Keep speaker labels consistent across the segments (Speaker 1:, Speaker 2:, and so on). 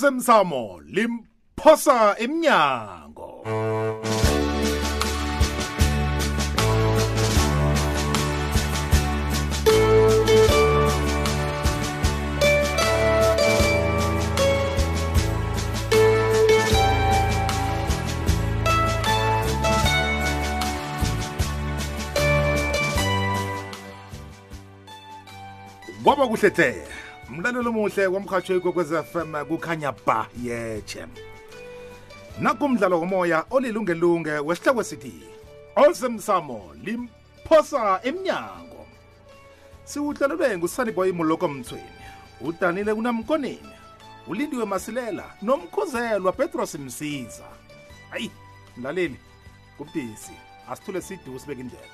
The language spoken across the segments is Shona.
Speaker 1: iphosemsamo limphosa emnyango kwaba kuhle hle mlalelo omuhle kwamkhatsho ikwekwez fm kukhanya ba yetshe nakumdlalo womoya olilungelunge wesihloko sithi osemsamo limphosa emnyango siwuhlelelwe ngusaniboy moloko mthweni udanile kunamkoneni ulindiwe masilela nomkhuzelwa petros msiza hayi mlaleli kubudisi asithule sidu sibeke indlela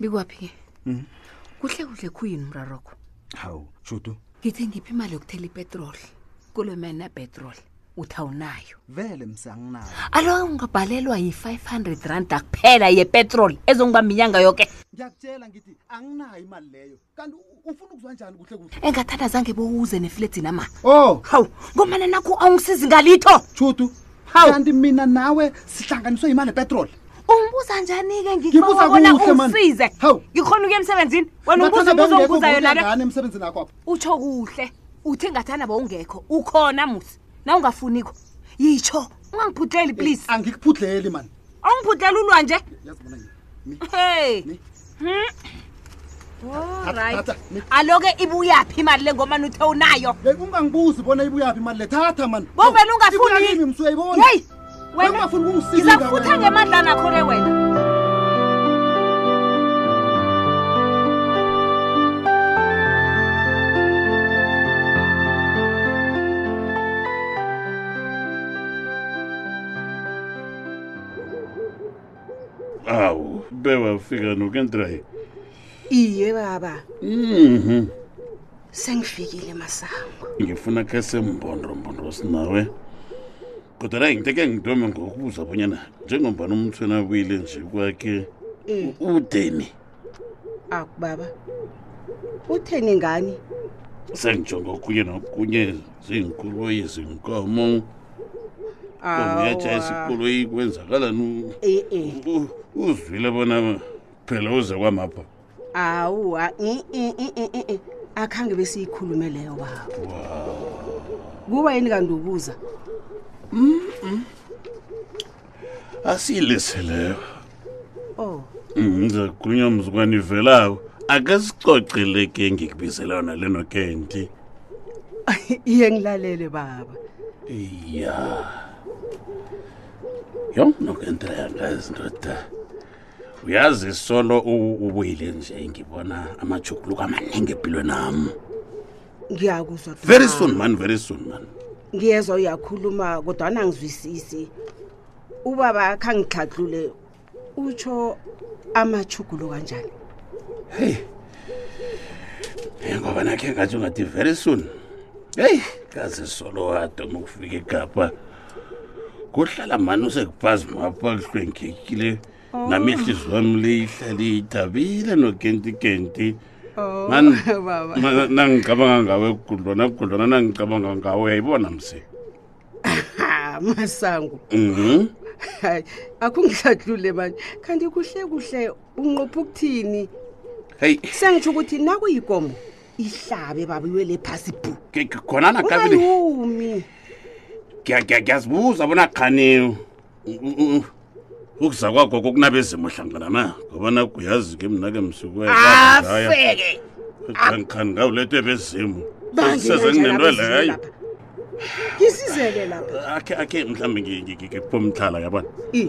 Speaker 2: bikwaphi ke
Speaker 3: Mm.
Speaker 2: kuhle kuhle khuyini umrarokho
Speaker 3: hawu shudu
Speaker 2: ngithe ngiphi imali yokuthela ipetroli kulomani napetroli uthi awunayo
Speaker 3: vele msanginayo
Speaker 2: alo ungabhalelwa yi-five hundred randa kuphela yepetroli ezongiba minyanga yoke
Speaker 3: ngiyakutshela ngithi anginayo imali leyo kanti u- ufuna ukuzwa njani kuhle kuhle
Speaker 2: engathanda zange bowuze nefletsi nama
Speaker 3: oh
Speaker 2: hawu ngomana nakho awungisizi ngalitho
Speaker 3: shudu
Speaker 2: Hawu.
Speaker 3: kanti mina nawe sihlanganiswe yimali epetroli
Speaker 2: ungibuza njani-ke
Speaker 3: Ngibuza
Speaker 2: ngibuza bona
Speaker 3: kuhle, man.
Speaker 2: ungisize
Speaker 3: Hawu.
Speaker 2: ngikhona ukuya emsebenzini wena umbuza
Speaker 3: Ngathana
Speaker 2: umbuzo
Speaker 3: bewungekho
Speaker 2: ongibuzayo
Speaker 3: ngokuya
Speaker 2: nana
Speaker 3: ngani emsebenzini Eh, akho apha
Speaker 2: utsho kuhle uthi ngathana bowungekho ukhona musi na ungafuniko yitsho ungangiphuthleli please
Speaker 3: angikuphudleli mani
Speaker 2: awungiphutlela ulwa nje
Speaker 3: yazibona nje. Mi-
Speaker 2: hey
Speaker 3: Ni-
Speaker 2: Oh,
Speaker 3: Thatha,
Speaker 2: right.
Speaker 3: thatha, ni-
Speaker 2: aloke ibuyaphi imali le ngomani uthe unayo
Speaker 3: Hey, Eh, ungangibuzi bona ibuyaphi imali le thatha mani
Speaker 2: Bo wena
Speaker 3: Hawu,
Speaker 2: ungafuni-
Speaker 3: ibuya kimi, msuyayibona.
Speaker 2: yeyi
Speaker 3: Wena
Speaker 2: wena
Speaker 3: ungafuni ukungisiza
Speaker 2: ngizakufutha
Speaker 3: wena.
Speaker 2: ngemandla nakho le wena
Speaker 4: awu bewafika nokentrayi
Speaker 5: iye baba
Speaker 4: mhm
Speaker 5: sengifikile masango
Speaker 4: ngifuna khe sembondrombondo sinawe kodwa la ngiteke ngidome ngokubuza bonyana njengombani umthweni abuyile nje kwakhe
Speaker 5: Eh.
Speaker 4: u- udeni
Speaker 5: akubaba utheni ngani
Speaker 4: sengijonga okunye nokunye ziinkoloyi zinkomo komuyatsha isikoloyi kwenzakalani
Speaker 5: ee
Speaker 4: U- u- uzwile bona phela uze kwamapha
Speaker 5: awuwa i-i-i-i-i. akhange besiyikhulume leyo baba kuba yini kanti ubuza
Speaker 4: asiyileseleyo
Speaker 5: o
Speaker 4: ndiza kukhulunywa mzukwane ivelawo ake sicocele ke ngikubizela yona leno kenti
Speaker 5: iye ngilalele baba
Speaker 4: ya yo nokentra yangazi ndoda uyazi solo u- ubuyile nje ngibona amajuguluko amaningi empilweni am
Speaker 5: ngiyakuzwa baba.
Speaker 4: very soon man very soon man
Speaker 5: ngiyezwa uyakhuluma kodwana angizwisisi ubaba khangixhatlule utsho amachugulo kanjani
Speaker 4: Eh, ngoba nakhe ngathi ungathi very soon heyi kazi solo wadoma ukufika egapha kuhlala mani usekubhazimapha kuhlwengekile
Speaker 5: Oh.
Speaker 4: nami ihliziyo wami le ihlale idabile nokentikenti
Speaker 5: Oh,
Speaker 4: Mani,
Speaker 5: baba.
Speaker 4: ma- nangicabanga ngawe kudlwana kudlwana nangicabanga ngawe uyayibona mse
Speaker 5: ha masango
Speaker 4: Mhm.
Speaker 5: hayi akungihlahlule manje kanti kuhle kuhle unqopha ukuthini
Speaker 4: heyi
Speaker 5: sengitsho ukuthi nakuyikomo ihlabe babiwele phasi bhu
Speaker 4: ke- ke- khona nakabili
Speaker 5: ungayumi
Speaker 4: ngiyazibuza bona khani u- u- u- ukuza kwakho kokunabezimo hlangana na ngoba nakuyazi ke mna ke msukwea
Speaker 5: afeke
Speaker 4: kangikhani ngawulethwe bezimo
Speaker 5: banje
Speaker 4: sezenginento leyo
Speaker 5: ngisizele lapha
Speaker 4: akhe akhe mhlawumbe ngi- ngi- ngi- ngikuphomtlhala yabona
Speaker 5: I,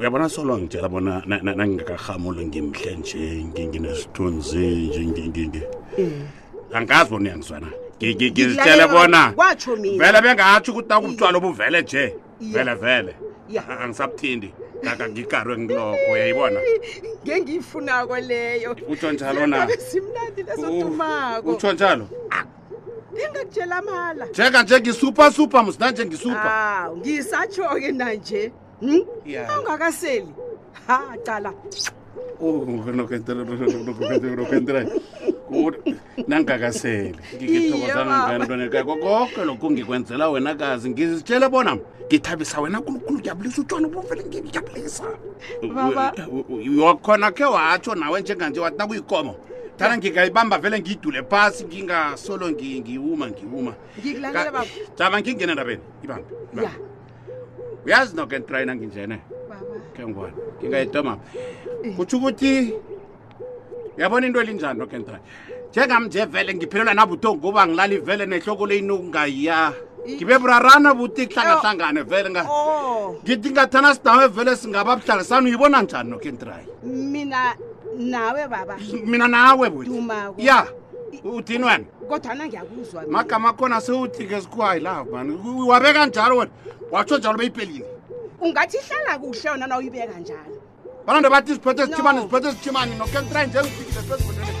Speaker 4: uyabona solo ngitshela bona na- na- nangingakarhamulo ngimhle nje ngi- nginesithunzi nje ngi- ngi- ngi-
Speaker 5: eh.
Speaker 4: angazi bona uyangizwana Ngi- ngi- ngizitshele
Speaker 5: Ngikulalela
Speaker 4: bona
Speaker 5: kwatsho mina
Speaker 4: vele bengatsho ukuthi akutshwala obuvele nje
Speaker 5: Iye.
Speaker 4: vele vele
Speaker 5: Ya.
Speaker 4: A- angisabuthindi kaka ngikarwe ngilokho uyayibona
Speaker 5: ngengiyifunako leyo
Speaker 4: Utsho njalo na?
Speaker 5: Singabe simnandi
Speaker 4: U-
Speaker 5: nasotumako
Speaker 4: utsho njalo
Speaker 5: bengakutshela mala
Speaker 4: njenganje ngisupa supa musinanje ngisupa
Speaker 5: aw ngisatsho-ke Ah, nanje hm?
Speaker 4: Ya.
Speaker 5: awungakaseli ha cala
Speaker 4: Oh, nangingakasele
Speaker 5: Iye, baba.
Speaker 4: ngikithokozanangantonekako konke lokhu ngikwenzela wena kazi ngizitshele bona ngithabisa wena kulukhulu ngiyabulisa utshona ubuvele ngiyabulisa
Speaker 5: Baba.
Speaker 4: wakhona khe watsho nawe njenganje wathi kuyikomo thana ngingayibamba vele ngiyidule phasi ngingasolo ngi- ngiwuma ngiwuma
Speaker 5: Ngikulalela, baba.
Speaker 4: jama ngingena endabeni ibambe
Speaker 5: ya
Speaker 4: ibambe. uyazi nokentrayina nginjene
Speaker 5: baba
Speaker 4: ke ngibona ngingayidoma kutsho ukuthi yabona into elinjani nokentra njengamnje vele ngiphelelwa nabuthongo kuba ngilali vele nehloko leyinukungayiya ngibe burarana buti kuhlangahlangane vele nga-
Speaker 5: oh
Speaker 4: ngithi ngathana sidawe vele singaba buhlalisana uyibona njani nokentrayi
Speaker 5: mina nawe baba
Speaker 4: mina nawe buti
Speaker 5: dumako
Speaker 4: ya uthini wena
Speaker 5: kodwana ngiyakuzwa mina.
Speaker 4: magama akhona sewuthi ke sikhuwa yilove mani wabeka njalo wena watsho njalo beyiphelile
Speaker 5: ungathi ihlala kuhle yona nawuyibeka njalo
Speaker 4: bananto bathi siphethe sithimane
Speaker 5: No.
Speaker 4: siphethe sithimane nokentrayi njengifikile phezulu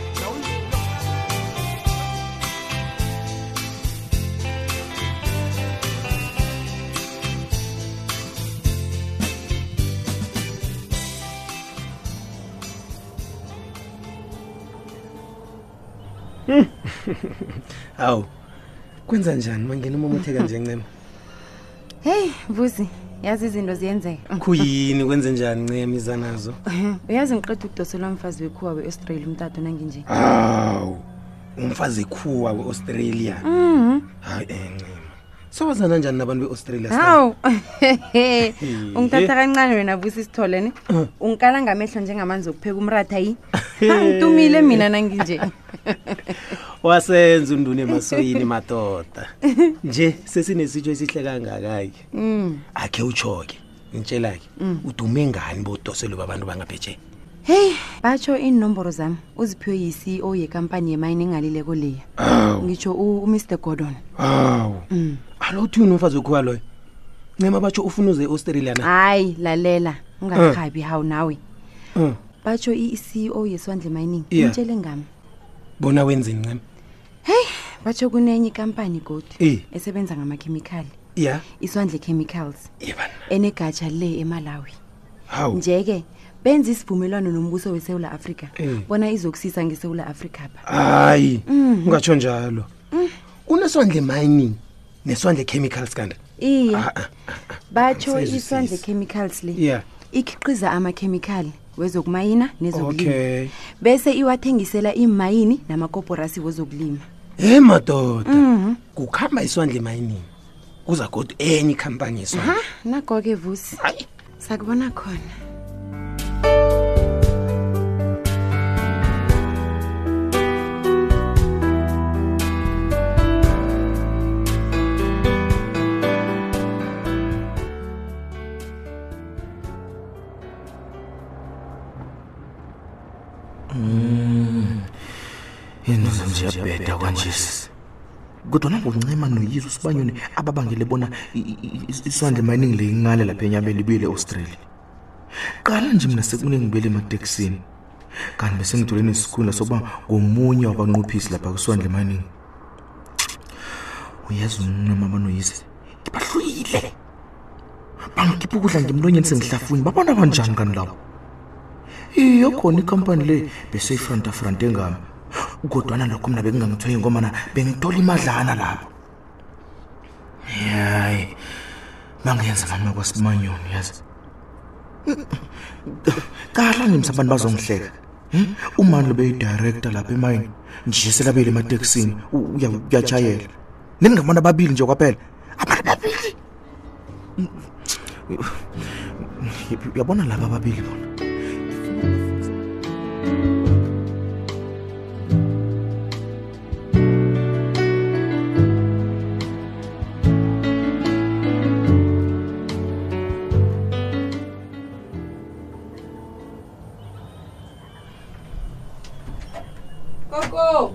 Speaker 6: hawu kwenza njani mangena umamotheka nje ncema
Speaker 7: heyi vuzi yazi izinto ziyenzeka
Speaker 6: khuyini kwenze njani ncema iza nazo
Speaker 7: uyazi ngiqeda ukudoselwa mfazi wekhuwa we-australia umtata nanginje
Speaker 6: hawu umfazi ekhuwa we-australia hayi um ncema sowazana njani nabantu be-australia
Speaker 7: hawu ungithatha kancane wena busi isithole ne
Speaker 6: Uh.
Speaker 7: ungikala ngamehlo njengamanzi okupheka umratha yi Ha, ngitumile mina nanginje
Speaker 6: wasenza unduna emasoyini madoda nje sesinesitsho esihle kangaka-ke akhe utsho-ke ngitshela-ke udume ngani bodoselo babantu bangaphetshe
Speaker 7: heyi batsho iinomboro zami uziphiwe yi-ceo yekampani yemayini engalileko leya ngitsho u- umr gordon
Speaker 6: hawu alothini umfazi wekhuwa loyo ncema batsho ufuna uze e-australia na
Speaker 7: hayi lalela ungakhabi hawu nawe E
Speaker 6: Mm.
Speaker 7: batsho i-ceo yeswandle mining
Speaker 6: Yeah.
Speaker 7: intshele ngami
Speaker 6: bona wenzeni ncema
Speaker 7: batsho kunenye ikampani godi
Speaker 6: Eh.
Speaker 7: esebenza ngamakhemikhali
Speaker 6: ya
Speaker 7: iswandle chemicals
Speaker 6: yebana
Speaker 7: enegatsha le emalawi
Speaker 6: hawu
Speaker 7: nje-ke benza isivumelwano nombuso wesewula afrika
Speaker 6: Eh. Ah,
Speaker 7: bona izokusisa ngesewula afrika pha
Speaker 6: hayi ungatsho njalo kuneswandle mining neswandle chemicals kanti
Speaker 7: iye
Speaker 6: Ah, ah.
Speaker 7: batsho
Speaker 6: angisayizwisisi.
Speaker 7: iswandle chemicals le
Speaker 6: Yeah.
Speaker 7: ikhiqiza amakhemikhali wezokumayina nezokulima
Speaker 6: Okay.
Speaker 7: bese iwathengisela imayini namakoporasi wezokulima
Speaker 6: he madoda kukhamba iswandle mining kuza kodwa enye ikhampani yeswandle
Speaker 7: ha nako-ke vusi sakubona khona
Speaker 8: inuzo ziyabheda kwanjesi kodwana ngokuncima noyizo usibanyoni ababangele bona i- i- i- iswandle mining le inqale lapha enyabeni ibuyele e-australia qala nje mina sekunengibele emateksini kanti besengithole nesikhundla sokuba ngomunye wabanquphisi lapha kwiswandle mining uyazi uncima abanoyise ngibahluyile bangikhipha ukudla ngimlonyeni sengihlafuni babona banjani kanti labo iye khona ikampani le beseyifranta frante ngami kodwana lokho mina bekungangithwengi ngomana bengithola imadlana lapho yayi bangenza mama kwasimanyoni yazi kahla nje msabantu bazongihleka Hmm? umani lo beyidirector lapha emayini nje selabeyile emateksini u- uya- uyatshayela ningabantu ababili nje kwaphela abantu ababili uyabona laba ababili bona
Speaker 7: koko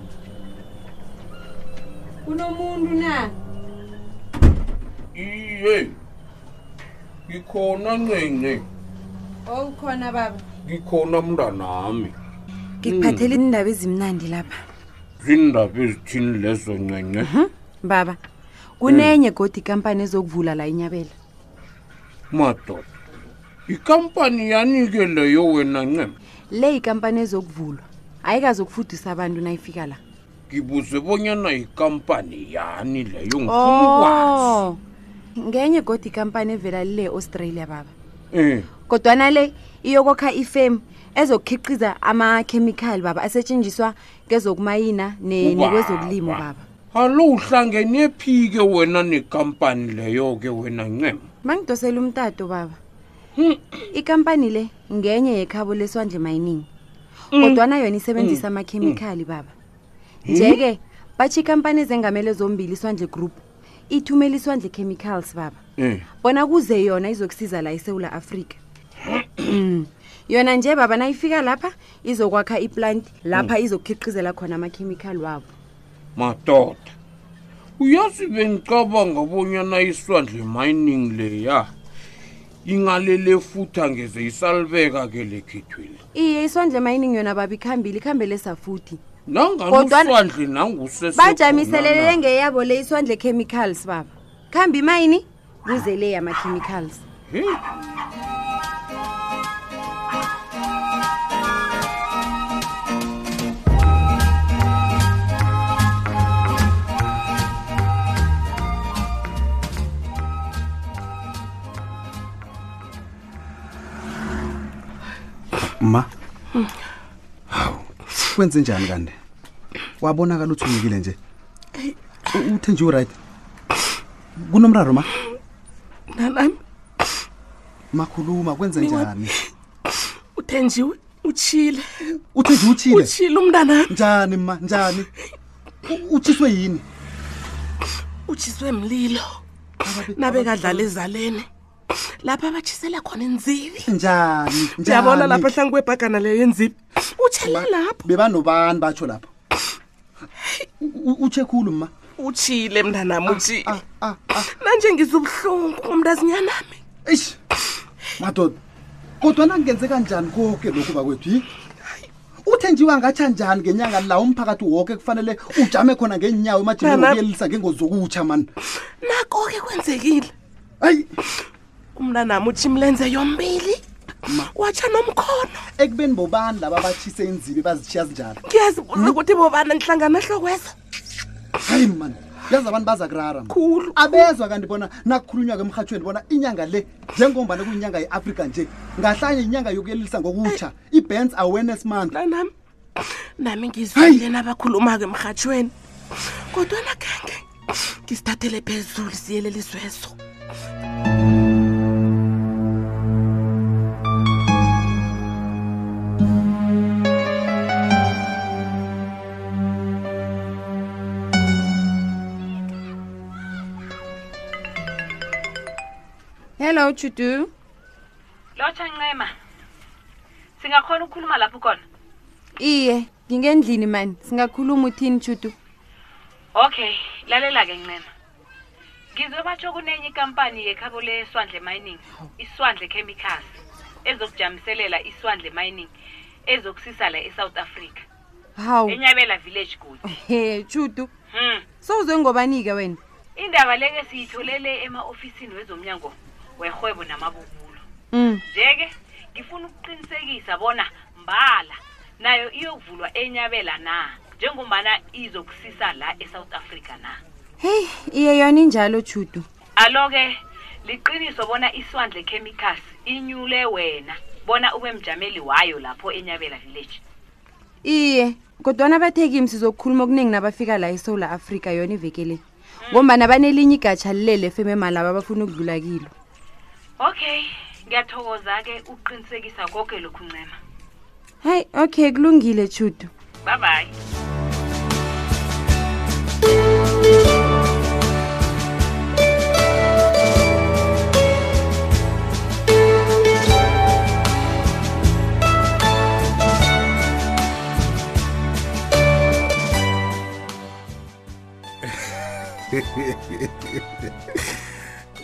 Speaker 7: kunomuntu na
Speaker 4: iye ngikhona ncence
Speaker 7: owukhona baba
Speaker 4: ngikhona mntanami
Speaker 7: ngikuphathela
Speaker 6: Mm.
Speaker 7: indaba ezimnandi lapha
Speaker 4: ziindaba ezithini lezo ncence
Speaker 7: baba kunenye godi ikampani ezokuvula la inyabela
Speaker 4: madoda ikampani yanike leyo wena ncema
Speaker 7: le ikampani ezokuvulwa ayikazokufudisa abantu nayifika la
Speaker 4: ngibuze bonyana ikampani yani leyo ngifuna
Speaker 7: Oh.
Speaker 4: ukwazi
Speaker 7: ngenye godi ikampani evela le australia baba
Speaker 4: um
Speaker 7: kodwana le iyokokha ifemu ezokukhiqiza amakhemikhali baba asetshenziswa kwezokumayina ne-
Speaker 4: Ubaba.
Speaker 7: nekwezokulimo baba
Speaker 4: alo uhlangene phike wena nekampani leyo-ke wena ncema
Speaker 7: bangidosela umtato baba ikampani le ngenye yekhabo leswandle mining kodwana yona isebenzisa amakhemikhali baba nje-ke batsho ikampani ezengamele zombili iswandle group ithumela iswandle chemicals baba
Speaker 4: um
Speaker 7: bona kuze yona izokusiza la esewula afrika Mm. yona nje baba nayifika lapha izokwakha iplanti lapha izokukhiqizela khona amakhemikhali wabo
Speaker 4: madoda uyazi bengicabanga bonyana iswandle e mining leya ingalele futhi angeze isalibeka-ke lekhithweli
Speaker 7: iye iswandle mining yona baba ikhambile ikhambele safuthi Kodwana-
Speaker 4: nanganiswandle
Speaker 7: bajamiselelele
Speaker 4: nangusesebajamise
Speaker 7: ngeyabo le iswandle chemicals baba khambi imayini kuze le yama-chemicals
Speaker 9: ma hawu wenze njani kanti wabonakala uthumekile nje U- uthe nje uright kunomraro ma
Speaker 10: nalami
Speaker 9: makhuluma kwenze
Speaker 10: Ninga-
Speaker 9: njani
Speaker 10: uthenjiwe utshile
Speaker 9: uthe nje utshile
Speaker 10: utshile umntanami
Speaker 9: njani ma njani U- utshiswe yini
Speaker 10: utshiswe mlilo nabe kadlala ezaleni lapha abatshisela khona enzibi
Speaker 9: njani
Speaker 10: ndiyabona
Speaker 9: njani?
Speaker 10: lapha hlangu kwebhagana leyo yenzibi utshele lapho
Speaker 9: bebanobani batsho lapho U- u- utshe khulu ma
Speaker 10: utshile mntanami utshile
Speaker 9: ah, ah.
Speaker 10: nanje ngizubuhlungu umntazinyanami
Speaker 9: eish madoda kodwana kungenze kanjani konke lokhu bakwethu yi uthenjiwe angatsha njani ngenyanga la umphakathi woke kufanele ujame khona ngeenyawo emajimeni
Speaker 10: Nana-
Speaker 9: okuyelisa ngengozi zokutsha mani
Speaker 10: nako-ke kwenzekile
Speaker 9: hayi
Speaker 10: umntanami utshi imlenze yombili watsha nomkhono
Speaker 9: ekubeni bobani laba batshise inzibe bazitshiya zinjalo
Speaker 10: ngiyazibuza ukuthi bobana nihlanganahlokweza
Speaker 9: hayi mani yazi abantu baza kurara man.
Speaker 10: khulu
Speaker 9: abezwa kanti bona nakukhulunywa-ke emrhatshweni bona inyanga le njengombana kuyinyanga ye-afrika nje ngahlanye inyanga yokuyelelisa ngokutsha i-bands awareness month
Speaker 10: mntanami nami ngizwile nabakhuluma-ko emrhatshweni kodwana kenge ngisithathele phezulu siyelelisweso
Speaker 7: hello chudu
Speaker 2: lotsha ncema singakhona ukukhuluma lapho khona
Speaker 7: iye ngingendlini mani singakhuluma uthini chudu
Speaker 2: okay lalela-ke ncema ngizwe batsho kunenye ikampani yekhabo leswandle mining iswandle chemicals ezokujamiselela iswandle mining ezokusisa la esouth africa
Speaker 5: Oh.
Speaker 7: hawu
Speaker 2: enyabela village good
Speaker 7: he chudu
Speaker 2: hmm.
Speaker 7: sowuzwe ngobani-ke wena
Speaker 2: indaba leke siyitholele ema-ofisini wezomnyango werhwebo namabubulo
Speaker 7: um
Speaker 2: nje-ke ngifuna ukuqinisekisa bona mbala nayo iyokuvulwa enyabela na njengombana izokusisa la esouth africa na
Speaker 7: heyi iye yona injalo chudu
Speaker 2: alo-ke liqiniso bona iswandle chemicals inyule wena bona ube mjameli wayo lapho enyabela village
Speaker 7: iye kodwana bathekimi sizokukhuluma okuningi nabafika la esewula afrika yona iveke le ngombana banelinye igatsha lilele efeme malaba abafuna ukudlula kilo
Speaker 2: okay ngiyathokoza-ke ukuqinisekisa konke lokhu ncema
Speaker 7: hayi okay kulungile chudu
Speaker 2: bye bye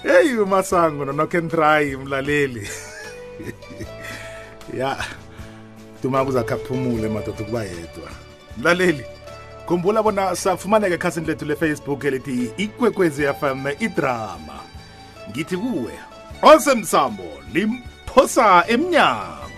Speaker 1: heyi umasango nonokentrayi mlaleli ya dumaka uzakhaphumule madoda ukuba yedwa mlaleli khumbula bona safumaneka ekhasini lethu lefacebook elithi ikwekwezi fm idrama ngithi kuwe osemsambo limphosa emnyango